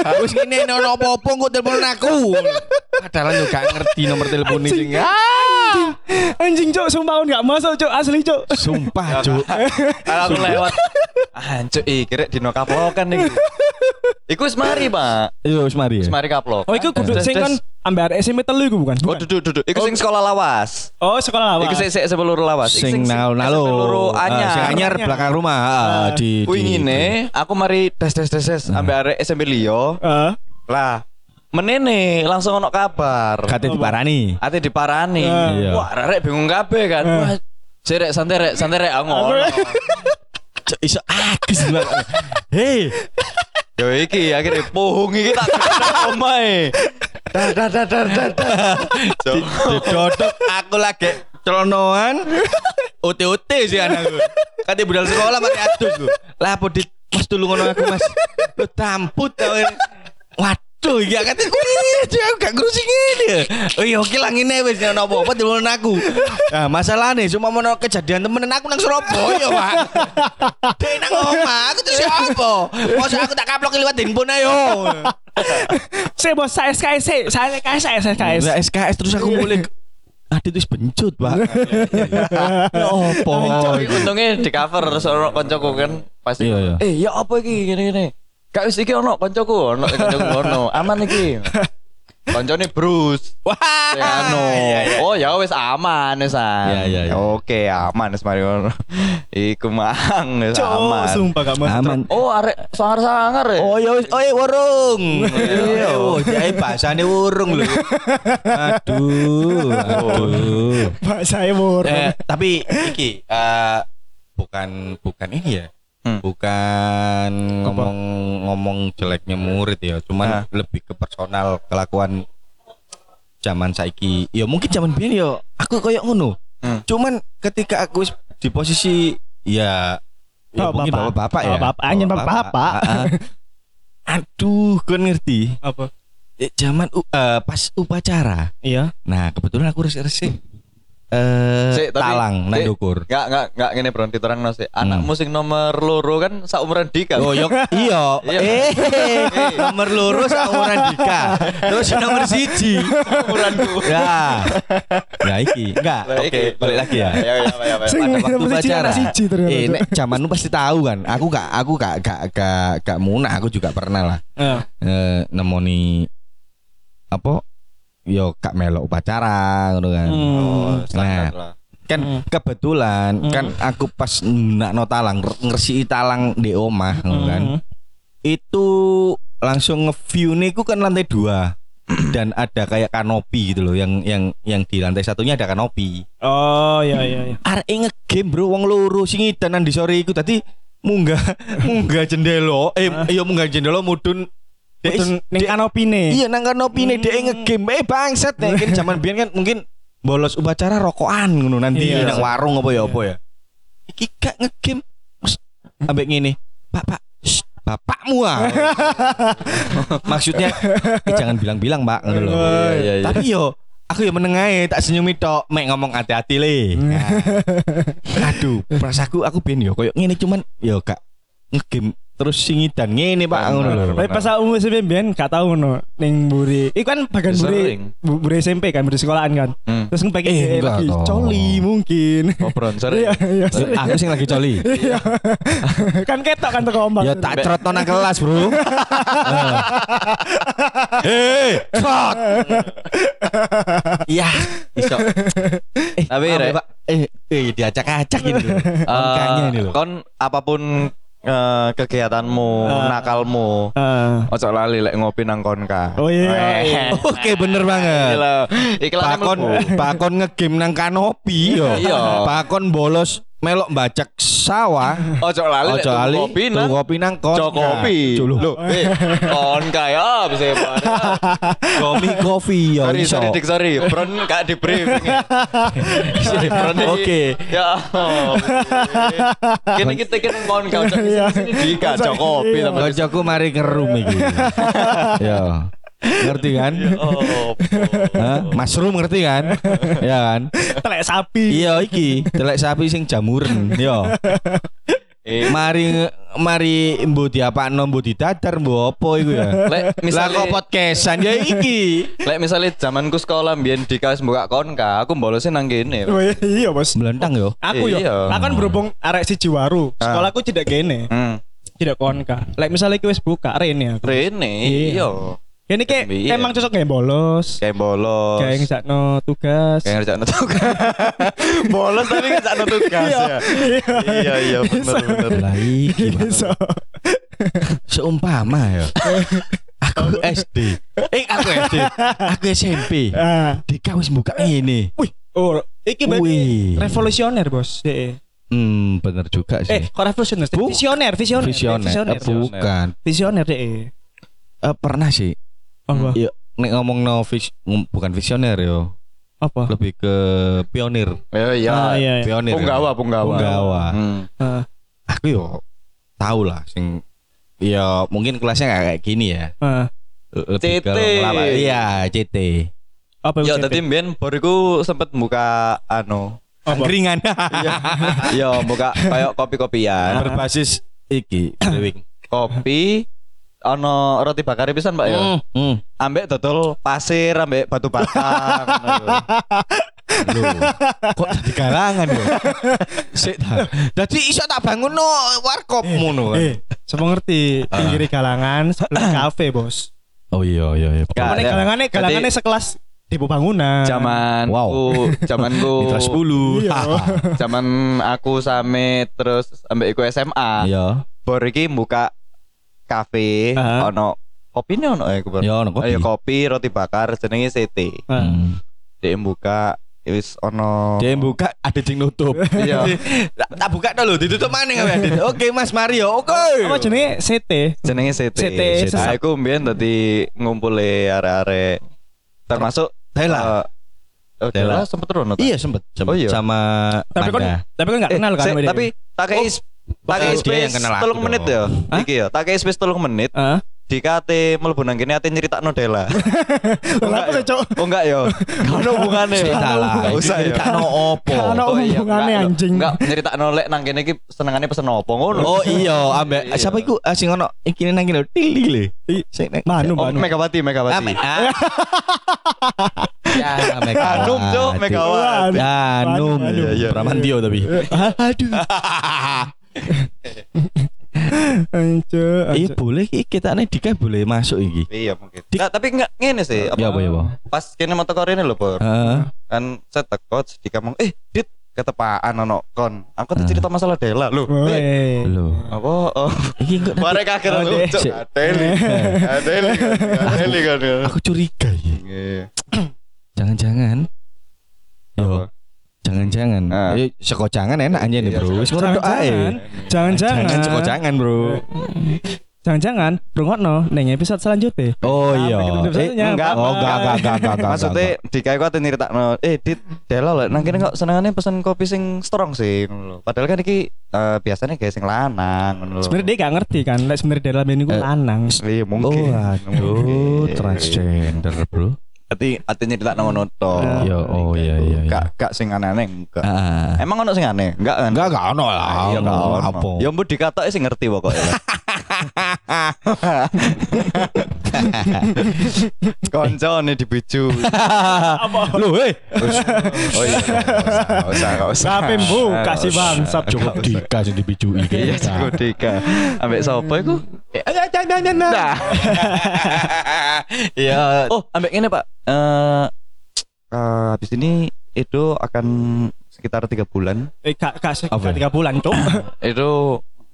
S2: Aku segini nono apa-apa Kok teleponan aku Padahal juga gak ngerti nomor telepon ini
S1: Ah!
S3: Anjing. Anjing, Cuk, sumpah aku enggak masuk, Cuk, asli, Cuk.
S2: Sumpah cuk
S1: Kalau aku lewat Hancur, Ah, ih kira dino kaplokan nih gitu. Iku wis mari pak
S2: Iya wis mari
S1: Wis
S2: ya
S1: mari kaplok
S3: Oh, iku kudu
S1: Des, des.
S3: sing kon ambek arek SMP telu iku bukan?
S1: Oh
S3: Bukan.
S1: duduk duduk Iku sing sekolah lawas
S3: Oh, sekolah awal.
S1: Iku sik sik sebelur lawas Iku
S2: Sing nalo nalo
S1: sing loro anyar
S2: Sing anyar belakang rumah ah, di, di
S1: Wingine aku mari des des des des ambek arek SMP liyo
S3: Heeh.
S1: Lah menene langsung ono kabar
S2: Katanya diparani
S1: Ate diparani.
S2: Iya.
S1: Wah, rek bingung kabeh kan.
S3: Eh.
S1: Wah, sik rek santai rek, santai rek aku ngono.
S2: Cuk, iso agis banget. Hei,
S1: Yo iki akhirnya pohong iki tak
S2: Oh
S1: omae. Dar dar dar dar dar. dar. Cuk.
S2: dodok aku lagi celonoan. OT-OT sih anakku. Kate budal sekolah mari adus lho. Lah apa dit Mas dulu ngono aku Mas. Lu tamput tau ini. Waduh, ya kate kuwi dia gak ngurusi ngene. Oh iya oke lah ngene wis ngono apa-apa dulu aku. Nah, masalahnya cuma mau kejadian temenan aku nang Surabaya, Pak. Dek nang omah, aku tuh siapa? Masa aku tak kaplok liwat handphone ayo.
S3: Saya bos saya SKS, saya SKS, saya SKS.
S2: Lah SKS terus aku mulai
S4: Adit wis bencut, Pak. Ya opo.
S1: Untungnya di cover terus ono koncoku kan pasti.
S4: Iya, iya.
S1: Eh, ya apa iki gini-gini. Kak wis iki ono koncoku, ono koncoku ono. Aman iki. Koncone Bruce.
S2: Wah.
S1: Seano. Oh, ya wis aman wis.
S4: Iya, iya, iya.
S1: Oke, aman wis mari ono. Iku mang
S2: eh,
S1: wis
S3: Cok,
S1: aman.
S3: sumpah gak masuk.
S4: Aman.
S1: Oh, arek sangar-sangar ya.
S2: Oh ya wis, oh ya warung.
S1: Iya.
S2: Oh, jae bahasane warung lho.
S4: Aduh. Aduh.
S3: Pak saya bor.
S2: Eh, tapi iki eh, bukan bukan ini ya.
S1: Hmm.
S2: Bukan ngomong ngomong jeleknya murid ya,
S3: Ah.
S2: cuman lebih ke personal kelakuan zaman saiki. Ya mungkin zaman biyen ya aku koyo ngono.
S1: Hmm.
S2: Cuman ketika aku wis di posisi ya ya
S3: Bapak-bapak.
S2: mungkin bapak-bapak ya.
S3: Bapak-bapak, anjen bapak-bapak.
S2: Ah, ah. Aduh, kan ngerti.
S3: Apa?
S2: Eh, Zaman u- eh, pas upacara.
S3: Iya.
S2: Nah, kebetulan aku resik-resik eh
S1: Sik, tapi-
S2: talang nang
S1: sik.
S2: Dukur.
S1: Enggak, enggak, enggak ngene Bro, diterangno sih. Anakmu sing nomor loro kan sak umuran Dika.
S2: Oh, yok, iya. Eh, nomor loro sauran Dika. Terus nomor siji.
S1: umuranku.
S2: Ya. Ya iki. Enggak.
S1: Lah,
S2: Oke,
S1: Nah, iki.
S2: balik lagi ya.
S1: Ya, ya, ya, ya.
S3: Sing
S2: Pada waktu
S3: nomor siji,
S2: upacara.
S3: anak siji ternyata,
S2: Eh,
S3: Cok.
S2: nek zamanmu pasti tahu kan. Aku gak aku gak gak gak gak munah, aku juga pernah lah.
S3: Eh,
S2: eh, nemoni apa yo kak melok upacara ngono kan.
S3: Hmm.
S1: Oh, standar
S2: Nah.
S1: lah.
S2: Kan
S3: Hmm.
S2: kebetulan
S3: Hmm.
S2: kan aku pas nakno talang ngersi talang di omah ngono kan.
S3: mm.
S2: Itu langsung nge-view niku kan lantai dua dan ada kayak kanopi gitu loh yang yang yang di lantai satunya ada kanopi.
S3: Oh, iya iya iya.
S2: Arek e ngegame bro wong loro sing idanan di sore iku tadi munggah munggah jendela eh iya munggah jendela mudun Dek-
S3: Mudun ning
S2: dek-
S3: kanopine.
S2: Iya nang kan opine dhek ngegame eh bangsat nek kene zaman biyen kan mungkin bolos upacara rokokan ngono nanti
S3: Iya.
S2: nang warung apa ya
S3: Iya.
S2: apa ya. Iki gak ngegame Mas, ambek ngene. Pak Pak shh, bapakmu ah. Maksudnya eh, jangan bilang-bilang Pak ngono lho.
S3: Iya,
S1: iya, iya.
S2: Tapi yo aku yo meneng ae tak senyumi tok mek ngomong hati-hati le. Nah. Aduh, perasaku Hmm. aku ben yo koyo ngene cuman yo gak ngegame terus singidan ngene Pak ngono lho.
S1: Bener.
S3: Tapi pas aku musim biyen gak tau ngono ning Buri. Iku kan bagian
S1: Sering.
S3: Buri. Bu- Buri SMP kan, Buri sekolahan kan.
S1: Hmm.
S3: Terus kan pengen
S2: Ya, Eh,
S3: eh,
S2: enggak
S3: lagi
S2: toh.
S3: coli mungkin.
S1: Oh, bronzer.
S3: Iya iya. sering.
S2: Aku sing lagi coli.
S3: Kan ketok kan teko ombak.
S2: Ya tak cerotno nang kelas, Bro. Eh. Hei, cot. Ya, iso. Eh,
S1: Tapi,
S2: apa,
S1: Rek? Ah, eh,
S2: Pak? eh, eh diacak-acak ini. loh. Angkanya ini loh.
S1: Kon apapun eh, kegiatanmu,
S2: Ah.
S1: nakalmu,
S3: Eh,
S1: ojo lali lek ngopi nang konka.
S3: Oh iya.
S1: Weh.
S2: Oke, bener
S1: Iya
S2: banget.
S1: lho. Iklannya
S2: Pakon,
S1: mlebu.
S2: pakon ngegame nang kanopi yo.
S1: Iya.
S2: Pakon bolos melok bajak sawah.
S1: Ojo lali lek
S2: Ojo
S1: tuku
S2: ali,
S1: Oh, kopi
S2: tuku
S1: nang
S2: kopi nang Nah, kon.
S1: Jokopi. Lho, eh, konka ya bisa ya, Pak.
S2: kopi kopi yo.
S1: Sorry,
S2: iso.
S1: sorry, Dik, sorry. Bron gak di brief. Bron ini-
S2: Iya. Oke.
S1: Ya. oh. Kini kita kini konka. ojo di
S3: Iya.
S1: sini Dika, ojo kopi.
S3: Iya.
S1: teman.
S2: Kancaku mari ngerum iki. Yo. Ngerti kan?
S1: Oh,
S2: Hah? Mushroom ngerti kan? ya kan?
S3: telek sapi.
S2: Iya iki, telek sapi sing jamuren, yo.
S1: Eh,
S2: Mari nge- mari mbo diapakno mbo didadar mbo apa iku ya.
S1: Lek,
S2: Lah
S1: misalnya-
S2: kok podcastan ya iki.
S1: Lek misalnya zamanku sekolah mbiyen Dika wis buka konka, aku bolosnya nang kene.
S3: Oh, Iya, Bos.
S2: Melentang yo.
S3: Aku yo,
S1: Iya.
S3: aku kan berhubung arek siji waru.
S2: Ah.
S3: Sekolahku tidak kene,
S1: Hmm.
S3: tidak konka. Lek misalnya iki wis buka rene aku.
S1: Rene,
S3: Iya.
S1: iya.
S3: Kene kayak
S1: Iya.
S3: emang cocok gak bolos.
S1: Kayak bolos.
S3: Kayak ngejakno tugas.
S1: Kayak ngerjain tugas. bolos tapi ngerjain tugas ya. Iya, iya, bener, bener.
S2: Lah iki. Pak.
S3: Iso.
S2: Seumpama ya. Aku SD. Eh aku SD. Aku SMP.
S3: Ah.
S2: Dika wis buka ngene.
S3: Wih, oh, iki
S2: Wih.
S3: berarti revolusioner, Bos. Eh,
S2: Hmm, bener juga
S3: eh
S2: sih.
S3: kok revolusioner?
S2: Bu-
S3: Visioner, visioner.
S2: Visioner.
S3: Visioner. ya.
S2: Eh, bukan.
S3: Visioner deh.
S2: Eh, pernah sih.
S3: Apa?
S1: Iya.
S2: Yo, nek ngomong no vis, ng- bukan visioner yo,
S3: Apa?
S2: lebih ke pionir.
S1: Ya, iya.
S3: Ah, iya, iya.
S2: Pionir.
S1: Punggawa, punggawa.
S2: Punggawa.
S1: Hmm.
S3: Ah,
S2: Aku yo tahu lah sing ya mungkin kelasnya nggak kayak gini ya.
S3: ah.
S2: L-
S1: CT.
S2: Lebih ke ngelawak. Iya, CT.
S3: Apa
S1: Ya,
S3: Bos?
S1: tadi mbiyen boriku sempet buka anu.
S3: Apa?
S2: Angkringan.
S1: Ya, buka kayak
S3: Ah.
S1: kopi-kopian.
S2: Berbasis iki brewing.
S1: Kopi ono roti bakar pisan, Pak ya.
S2: Hmm.
S1: Ambek dodol pasir, ambek batu bata.
S2: Loh, kok jadi kalangan yo? Sik ta.
S4: Jadi iso tak bangun no warkop ngono. kan.
S3: Eh, semua ngerti
S1: Ah.
S3: pinggir galangan sebelah kafe, Bos.
S2: Oh iya iya iya.
S1: Gak
S3: Mana
S1: ada.
S3: galangannya galangannya sekelas depo bangunan.
S1: Zaman
S2: Wow.
S1: ku, zaman ku.
S2: Mitra 10.
S3: Iya.
S1: Zaman aku same terus ambek iku SMA.
S2: Iya.
S1: Bor iki buka kafe
S3: Ah.
S1: ono kopi ono ya aku Bor.
S2: Ya, ono kopi.
S1: Ayo kopi roti bakar jenenge CT.
S3: Ah.
S1: Dia buka wis ono
S2: Dia yang buka ada yang nutup.
S1: Iya.
S4: Tak tak buka dulu ditutup maning Mas Adit. Oke Mas Mario. Oke.
S3: Apa jenenge CT?
S1: jenenge CT.
S3: CT,
S1: Nah,
S3: sesat.
S1: aku mbiyen dadi ngumpule arek-arek termasuk
S4: Dela.
S1: eh, oh,
S2: Dela.
S1: Dela sempet rono. ta?
S2: Iya sempet
S1: Oh, iya.
S2: sama
S3: Tapi kan
S2: Manda.
S3: tapi kan enggak
S1: Eh,
S3: kenal kan.
S1: sik,
S3: sama dia.
S1: tapi tak kei tak kei
S2: dia
S1: space
S2: yang kenal
S1: 3
S2: aku dong.
S1: menit ya. Iki ya, tak kei space 3 menit.
S3: Hah?
S1: Dikate mlebu nang kene ate nyeritakno Dela.
S3: Lah apa Cok?
S1: Oh enggak yo. Enggak ono hubungane.
S2: Sik ta lah.
S1: Enggak usah yo.
S2: Gak no opo.
S3: Gak ono hubungane anjing.
S1: Enggak nyeritakno lek nang kene iki senengane pesen opo ngono.
S2: Oh iya, ambek
S1: Iya.
S2: siapa iku Ah, sing ono iki nang kene til til. Sing nang
S3: Manu,
S1: Oh,
S3: Manu.
S1: Megawati,
S2: Ah,
S1: Megawati.
S2: Ya,
S1: Anum, Cok, Anu, Megawati.
S3: Wah,
S2: Ya, Anum.
S3: Anum.
S2: Iya, iya. Pramantio tapi.
S3: Aduh. Anjo,
S2: Iya
S3: anjo.
S2: boleh iki kita nih Dika boleh masuk iki.
S1: Iya mungkin. Nggak, tapi enggak ngene sih. apa-
S2: Ya apa ya, Pak?
S1: Pas kene motor kore ini lho, Bor.
S2: Heeh.
S1: Kan saya teko sedika ngomong, "Eh, Dit, ketepaan ono kon. Aku tuh cerita masalah Dela lho. Eh,
S3: Woi.
S2: Lho.
S1: Apa? Oh.
S2: Iki kok nanti-
S1: Bare kaget
S3: Oh,
S1: aku.
S3: deh.
S1: Cuk,
S2: Sik.
S1: Adeli. Adeli. Adeli kan.
S2: aku curiga ya.
S1: Iya.
S2: Jangan-jangan. Yo. Jangan-jangan.
S1: Ah.
S2: Eh, sekocangan enak aja nih,
S1: Iya,
S2: Bro. Wis ngono tok
S3: Jangan-jangan,
S2: ae. Jangan
S3: jangan-jangan,
S2: sekocangan, Bro.
S3: jangan-jangan, rungokno neng episode selanjutnya.
S2: Oh
S3: Sampai
S2: iya.
S3: ketemu
S2: Eh,
S3: episodenya.
S2: enggak,
S3: Bye-bye.
S2: oh enggak, enggak, enggak, enggak, enggak.
S1: Maksudnya Dika iku ate nyeritakno, "Eh, Dit, Dela lho nang kene kok senengane pesen kopi sing strong sih." ngono lho. Padahal kan iki eh, biasanya guys sing lanang
S2: Oh.
S1: ngono lho.
S3: Sebenarnya dia gak ngerti kan, lek sebenarnya dalam ini
S2: Eh.
S3: gue lanang.
S1: Iya mungkin.
S2: Oh, aduh,
S1: Mungkin.
S2: transgender, Bro.
S1: Ati ati nyeritakno ngono to.
S2: Iya, oh iya iya. iya.
S1: Gak gak sing aneh-aneh enggak.
S2: Ah.
S1: Emang ono sing aneh? Enggak kan?
S2: Enggak, enggak ono lah.
S1: Ah, Iya enggak
S2: Ono
S1: ono.
S2: Apa?
S1: Ya mbok dikatoke sing ngerti pokoke. Koncone dibiju.
S2: Lho, eh.
S1: Oh iya. Enggak usah, enggak usah.
S3: Sampai bu, kasih bangsat
S2: Cukup Dika sing dibijui
S1: Iya,
S2: iki.
S1: cukup Dika. Ambek sapa iku?
S2: Eh,
S1: Nah.
S2: Iya.
S1: Oh, ambek ngene, Pak. Eh eh, habis ini Edo akan sekitar tiga bulan
S3: Eh, gak gak sih,
S2: Apa
S3: gak
S2: ya?
S3: tiga bulan cok.
S1: itu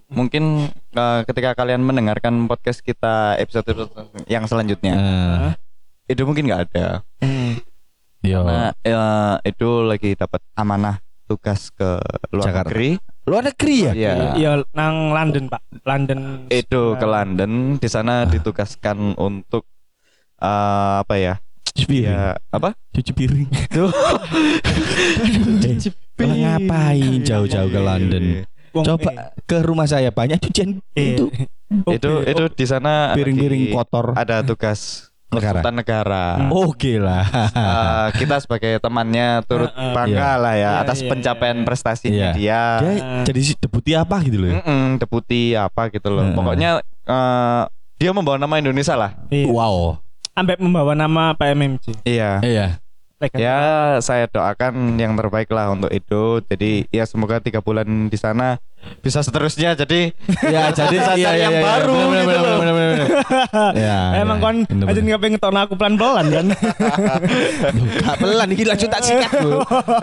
S1: mungkin eh, ketika kalian mendengarkan podcast kita episode episode yang selanjutnya
S2: Eh,
S1: itu mungkin nggak ada
S2: Iya.
S1: nah itu lagi dapat amanah tugas ke luar
S2: Jakarta.
S1: negeri
S2: Luar negeri ya?
S1: ya
S3: Iya, nang London pak, London.
S1: itu ke London di
S2: Ah.
S1: sana ditugaskan untuk eh, apa ya
S2: Cuci piring.
S1: ya apa
S2: Cuci piring. Cuci piring. Eh, Iya, Ngapain jauh-jauh Oh,
S1: Iya,
S2: ke London?
S3: Wong,
S2: Coba ke rumah saya banyak cucian
S3: eh,
S2: itu
S3: eh.
S1: itu itu di sana
S2: Oh,
S1: lagi
S2: piring-piring kotor
S1: ada tugas
S2: negara. Oh.
S1: konsultan negara
S2: Hmm. Oke lah. Ah.
S1: Eh, kita sebagai temannya turut
S3: Heeh.
S1: bangga lah ya
S3: Iya,
S1: atas
S3: iya,
S1: pencapaian
S3: iya.
S1: prestasinya
S2: Iya.
S1: dia.
S2: Dia jadi si deputi apa gitu loh. ya? Ah,
S1: Mm-mm, deputi apa gitu loh.
S2: Heeh.
S1: Pokoknya eh, dia membawa nama Indonesia lah.
S2: Hmm.
S3: Iya.
S2: Wow.
S3: Ambek membawa nama PMMG.
S1: Iya.
S2: Iya.
S3: Legal.
S1: Ya
S2: kan
S1: saya doakan yang terbaik lah untuk Edo. Jadi ya semoga tiga bulan di sana bisa seterusnya. Jadi
S2: Ya jadi
S1: Sasar
S2: iya, iya,
S1: yang
S2: iya,
S1: baru
S2: bener,
S1: gitu
S2: bener,
S1: loh.
S2: bener, bener, bener. Ya,
S3: Emang
S2: ya,
S3: kon
S2: bener,
S3: aja
S2: bener.
S3: nggak pengen ngetokno aku pelan-pelan kan?
S2: Duh, gak pelan iki langsung tak sikat Bu.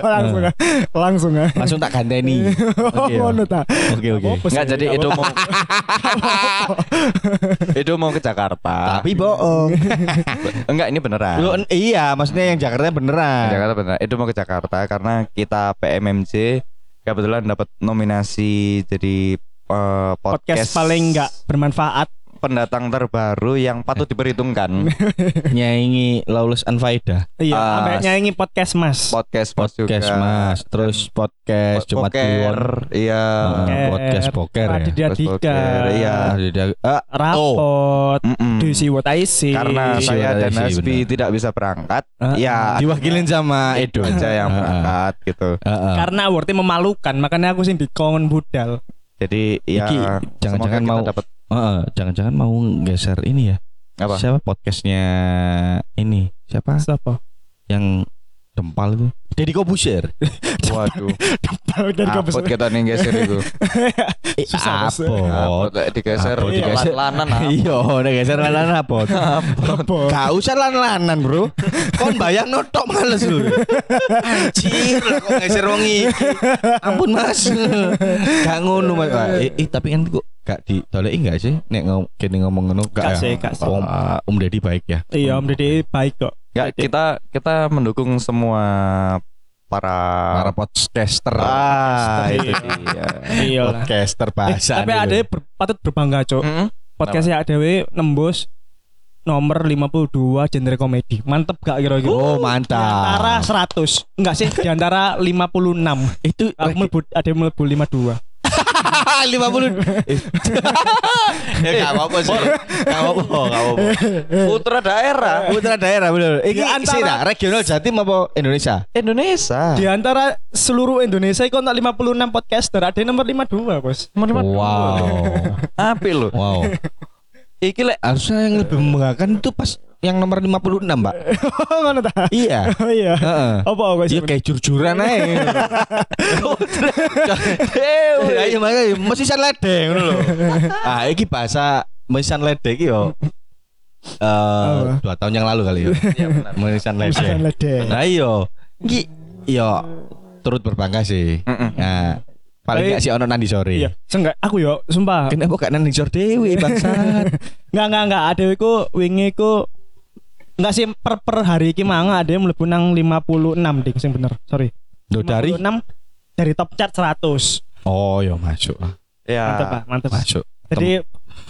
S3: langsung, ah. langsung ah.
S2: Langsung tak gandeni. Oke.
S3: Oh, ngono
S2: ya.
S3: ta.
S2: Oke oke.
S3: Apa sih?
S1: nggak jadi
S3: Apa-
S1: Edo mau Edo mau ke Jakarta.
S2: Tapi bohong.
S1: enggak ini beneran.
S2: Lu en- iya, maksudnya yang Jakarta beneran.
S1: Jakarta benar. Itu mau ke Jakarta karena kita PMMJ kebetulan dapat nominasi jadi eh,
S3: podcast paling nggak bermanfaat.
S1: pendatang terbaru yang patut
S2: Eh.
S1: diperhitungkan
S2: Nyanyi Lawless Anfaida.
S3: Iya,
S1: Ah,
S3: sampai nyanyi podcast Mas.
S1: podcast Mas
S2: Podcast
S1: juga.
S2: Mas, terus podcast Jumat
S1: Poker,
S2: Kliwon.
S1: iya
S2: Ah, podcast poker ya.
S3: Raditya
S1: Podcast
S3: Dika.
S1: poker, iya.
S2: Ah, dia- ah,
S3: Rapot.
S1: Mm-mm.
S3: Do you see what I
S2: Iya,
S3: see?
S1: karena
S2: Isi
S1: saya
S2: wadah
S1: dan
S2: isi,
S1: Hasbi
S2: iya, benar.
S1: tidak bisa berangkat
S3: Ah,
S1: ya
S2: diwakilin sama Edo
S1: aja yang
S2: Ah, ah,
S1: berangkat gitu
S2: ah, ah.
S3: karena awardnya memalukan, makanya aku sih dikongkon budal.
S1: jadi ya
S2: Iki, jangan-jangan
S1: semoga kita
S2: mau-
S1: dapat
S2: Ah, ah, jangan-jangan mau geser ini ya.
S1: apa
S2: Siapa podcastnya ini? Siapa
S3: Siapa?
S2: yang dempal itu? Deddy Kobusher.
S4: Waduh.
S3: Tebal dan kau
S4: Apot
S1: ya.
S4: kita nih geser itu.
S2: Eh,
S3: Susah Bos.
S4: Apot
S1: eh,
S4: lek digeser.
S2: Apot digeser.
S1: Lan-lanan apa?
S2: Iya, nek geser lalan apot.
S3: Apa?
S2: Gak usah lan-lanan, Bro. Kon bayang notok males lu. Anjir, lah Iya, kok geser wong iki. Ampun, Mas. Gak ngono, Mas.
S3: Iya,
S2: Wah, Eh, eh, tapi kan kok gak ditoleki gak sih nek ngom kene ngomong ngono
S3: Gak
S2: gak
S3: sih,
S2: ya?
S3: gak sih.
S2: Om, Om Deddy baik ya.
S3: Iya Om Dede baik kok.
S1: Enggak, Ya, kita kita mendukung semua para
S3: Ah.
S2: Para podcaster.
S1: ah, itu dia.
S3: Iya lah.
S2: podcaster
S3: Eh,
S2: bahasa.
S3: tapi ada yang ber- patut berbangga cok.
S1: Mm-mm.
S3: Podcastnya ada yang nembus nomor 52 genre komedi. Mantep gak kira-kira?
S2: Oh,
S3: Di antara
S2: mantap.
S3: 100 Enggak sih Di antara 56
S2: Itu
S3: Aku melebu, Ada yang melebu 52 Ah.
S2: lima puluh ya nggak apa-apa sih nggak apa-apa nggak apa-apa Eh.
S1: Putra daerah
S2: putra daerah bener ini
S3: Ya, antara-
S2: antara Eh, regional Jatim apa Indonesia Ah.
S1: Indonesia.
S3: Di antara seluruh Indonesia Kok tak 56 podcaster Ada yang nomor 52 bos
S1: Menerima
S2: wow
S1: Apik lho.
S2: wow
S1: Iki lek
S2: harusnya yang lebih membanggakan itu pas yang nomor 56 mbak
S3: Mana tak
S2: iya
S3: Oh iya
S2: Heeh.
S3: Apa aku
S2: Iya kayak jur-juran aja Ayo makanya mesti san ledeng ngono lho. Ah iki bahasa mesisan ledeng iki yo. Eh
S3: Apa?
S2: dua tahun yang lalu kali yo. Iya benar. Mesisan ledeng.
S3: Mesisan ledeng.
S2: Nah iyo. Iki yo turut berbangga sih. Nah, paling
S3: Tapi-
S2: gak sih ono nandi sore.
S3: Iya Seenggak Aku yo Sumpah
S2: Kenapa gak nandi sore dewi bangsa?
S3: Enggak enggak enggak Ada yang ku Wingi ku Enggak sih per, per hari ini manga ada yang melebu nang 56 ding sing bener sorry
S2: Lo Oh, dari
S3: 56 dari top chart 100
S2: Oh yo masuk. ah,
S3: mantep pak
S1: ya.
S3: mantep Pak.
S2: Masuk.
S3: jadi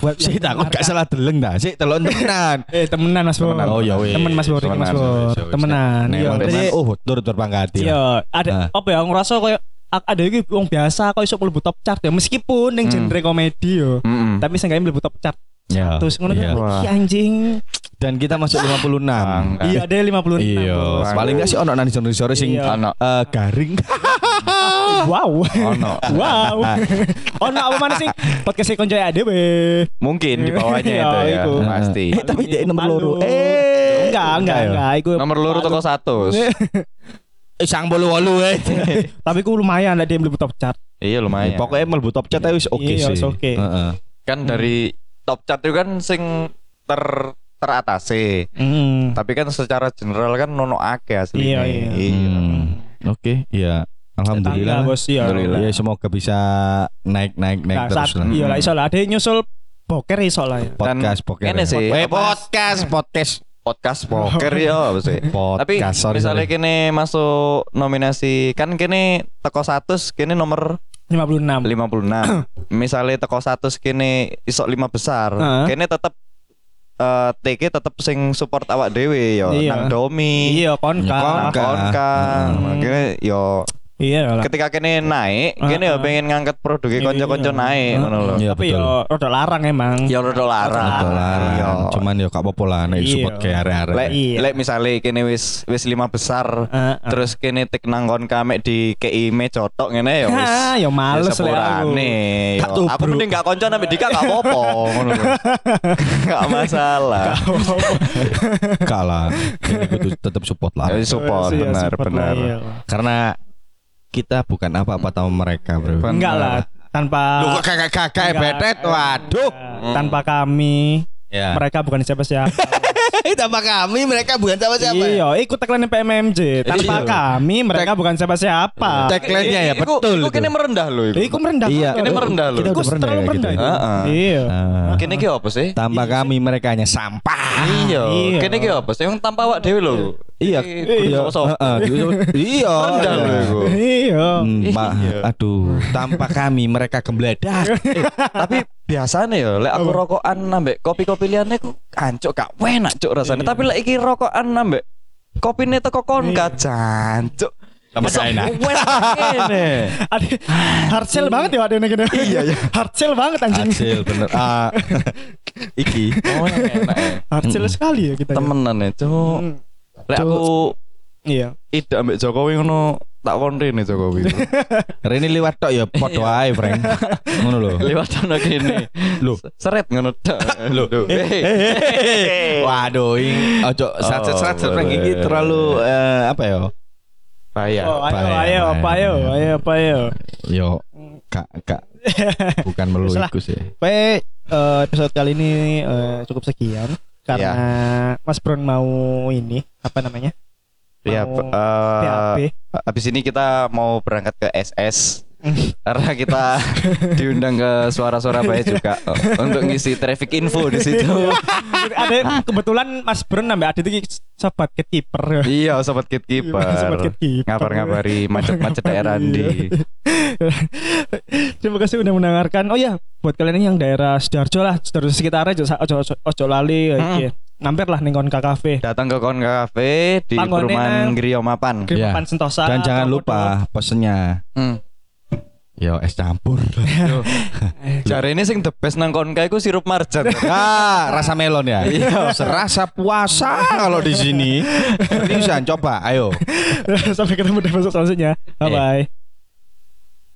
S3: buat
S2: Sih takut gak salah deleng dah. Sih telon tenan.
S3: Eh temenan Mas Bro.
S2: Temenan. Oh, ya wes.
S3: Temen Mas Bro, Riki,
S2: Temenan,
S3: Mas Bro.
S2: ya wes.
S3: Temenan. Iya,
S2: Nek
S3: jadi-
S2: tenan oh turut berbangga hati.
S3: Iya,
S2: lah. Nah.
S3: ada apa ya ngerasa koyo a- ada iki wong biasa kok iso mlebu top chart ya meskipun ning
S1: Hmm.
S3: genre komedi yo.
S1: Mm-mm.
S3: Tapi seenggaknya mlebu top chart.
S2: Iya.
S3: Terus ngono
S2: Hmm. Iya.
S3: kan
S1: Wah.
S3: "Ih, anjing.
S2: Dan kita masuk 56.
S1: Bangga.
S3: Iya, ada 56.
S2: Nah. Iya,
S3: Bos.
S2: paling gak sih ono nang sore sore sing
S3: Iya.
S1: Ono.
S2: eh, garing.
S3: Wow.
S1: Ono.
S3: wow.
S2: Nah.
S3: Ono apa mana sih podcast konco ya dhewe.
S1: Mungkin di bawahnya
S3: Iya,
S1: itu ya.
S3: iku.
S1: Pasti.
S2: Eh, tapi dia nomor
S3: Palu.
S2: loro. Eh,
S3: Iya. enggak, enggak,
S2: ya?
S3: enggak. Iku
S1: Nomor loro toko 100.
S2: Eh, sang bolu walu eh. Nah,
S3: tapi ku lumayan ada yang mlebu top chart.
S1: Iya lumayan.
S2: Ya, Pokoknya mlebu top chat ae wis oke
S3: Iya,
S2: sih.
S3: wis oke.
S2: Heeh.
S1: kan dari top chart itu kan sing ter teratas sih.
S3: Mm.
S1: Tapi kan secara general kan nono akeh aslinya.
S3: Iya, iya.
S2: Hmm, Oke, iya. Alhamdulillah.
S3: Tetangga, Bos, iya.
S1: Alhamdulillah.
S2: Ya semoga bisa naik naik
S3: Nah,
S2: naik
S3: saat-
S2: terus lah.
S3: Iya lah iso lah ada yang nyusul boker iso lah ya.
S2: Podcast
S1: Dan
S2: podcast.
S1: ini sih,
S2: Eh,
S1: apa-
S2: podcast podcast.
S1: Podcast poker ya apa sih.
S2: Podcast,
S1: Tapi
S2: sorry,
S1: misalnya
S2: sorry.
S1: kene masuk nominasi kan kene teko 100 kene nomor
S3: 56.
S1: 56. misalnya teko 100 kene isok 5 besar.
S3: Heeh.
S1: Kene tetep eh TK tetep sing support awak dhewe ya
S3: Iya.
S1: nang Domi.
S3: Iya kon
S2: Iya,
S3: kan.
S2: kon. Konka.
S1: Konka.
S2: Heeh.
S1: Kene yo
S3: Iya lah.
S1: ketika kene naik, kene yo
S3: Heeh.
S1: pengen ngangkat produknya
S3: Iya,
S1: konco-konco
S3: iya.
S1: naik ngono lho.
S2: Iya
S3: Tapi
S2: betul. Iya.
S3: yo rada larang emang.
S1: Ya rada larang.
S2: Betul lah.
S1: Iya.
S2: Cuman ya gak apa-apa lah naik
S3: Iya.
S2: support kayak are-are.
S1: Lek
S3: Iya. Ah,
S1: lek misale kene wis wis 5 besar.
S3: Heeh.
S1: Terus kene tik nang kon kamek di KIME cotok ngene ya wis.
S3: Hah, ya males
S1: wis
S3: lek aku.
S1: sepurane,
S2: Gak
S1: yo. Aku
S2: tubruk.
S1: mending gak konco nambah Dika gak apa-apa ngono lho. Gak masalah.
S3: Oh, iya,
S2: Gak lah. Ini kudu tetap support lah.
S1: Ya, support
S3: Iya,
S1: benar
S3: support lah,
S1: benar.
S3: iya.
S2: Karena kita bukan apa-apa tanpa mereka, Bro.
S1: Benar.
S3: Enggak lah tanpa
S2: Lu kok kakak-kakak
S3: Enggak,
S2: betet,
S3: enggak.
S2: waduh.
S3: tanpa kami
S2: Ya.
S3: mereka bukan siapa-siapa.
S2: Tanpa kami mereka bukan sama
S3: iya, ikut tagline PMMJ. Tanpa
S2: ya? Iya.
S3: kami mereka bukan siapa-siapa.
S2: Tagline-nya ya
S1: Iku-
S2: betul.
S1: Iku kene
S2: itu.
S1: merendah lho iku.
S3: Iku merendah.
S2: Iya.
S3: banget.
S1: Ini merendah lho.
S2: Kita
S3: Iku
S2: udah merendah
S3: terlalu
S2: ya,
S3: merendah.
S2: gitu.
S3: itu.
S1: Heeh.
S3: Iya.
S2: Ah.
S1: Kene ki apa sih?
S2: Tanpa kami mereka hanya sampah.
S1: Ah, Iya,
S3: Iya.
S1: kene ki apa sih? Wong tanpa awak dhewe lho.
S2: Iya.
S1: Kudu sosok.
S2: Heeh, gitu. Iya.
S1: Merendah lho iku.
S3: Iya.
S2: Hmm, Pak, aduh, tanpa kami mereka gembledak.
S1: Eh, tapi biasanya ya lek aku rokokan nambah kopi-kopi liane ku ancuk gak enak cuk rasanya tapi lek iki rokokan nambah kopine teko konka jancuk
S2: Tambah
S1: Masa
S2: gak enak.
S1: enak ngene.
S3: Ada hard sell banget ya ada yang gini. Iya, iya. Hard sell banget anjing.
S2: Hasil bener. Ah, iki.
S1: oh yang enak ya.
S3: Hard sell sekali ya kita. ya.
S1: temenan ya cuk
S3: Hmm.
S1: lek
S3: Cuk.
S1: aku
S3: Iya.
S1: ide ambek Jokowi ngono tak konri nih Jokowi
S2: Rene liwat tok ya podo ae, Frank. Ngono lho.
S1: lewat ono kene
S2: Lho.
S1: seret ngono tok Eh, lho
S2: eh, Waduh, ini ojo
S1: Oh,
S2: Oh, sacet-sacet Frank
S1: boleh.
S2: iki terlalu eh, apa ya?
S1: Bahaya.
S3: Oh, ayo,
S2: Bayar,
S3: ayo, apa ya. ayo,
S2: bayar.
S3: ayo, apa ayo.
S2: Yo, kak, kak, bukan melu
S3: Terserah.
S2: iku sih.
S3: Pe, eh, episode kali ini eh, cukup sekian karena Mas Brown mau ini apa namanya?
S1: Ya,
S3: Mau
S1: eh,
S3: PHP.
S1: Habis ini kita mau berangkat ke SS karena kita diundang ke suara-suara baik juga oh, untuk ngisi traffic info di situ.
S3: ada kebetulan Mas Brown nambah ada iki sahabat keeper.
S1: iya, sobat gatekeeper.
S3: Sobat gatekeeper. Iya.
S1: Ngabar-ngabari macet-macet daerah di.
S3: Terima kasih udah mendengarkan. Oh ya, buat kalian yang daerah Sidoarjo lah, Sidoarjo sekitarnya ojo ojo, ojo, ojo lali
S1: Hmm.
S3: iki. Mampir lah ning kon kafe.
S1: Datang ke Kon Cafe di
S3: Panggonan-
S1: perumahan Griyo Mapan.
S3: Ke
S2: Iya.
S3: Papan Sentosa.
S2: Dan jangan
S3: atau
S2: lupa pesennya.
S1: Hmm.
S2: Yo es campur.
S1: Jare ini sing the best nang Konka iku sirup marjan.
S2: Ah, rasa melon ya. Serasa puasa kalau di sini. Bisa coba, ayo.
S3: Sampai ketemu di episode selanjutnya. Bye bye.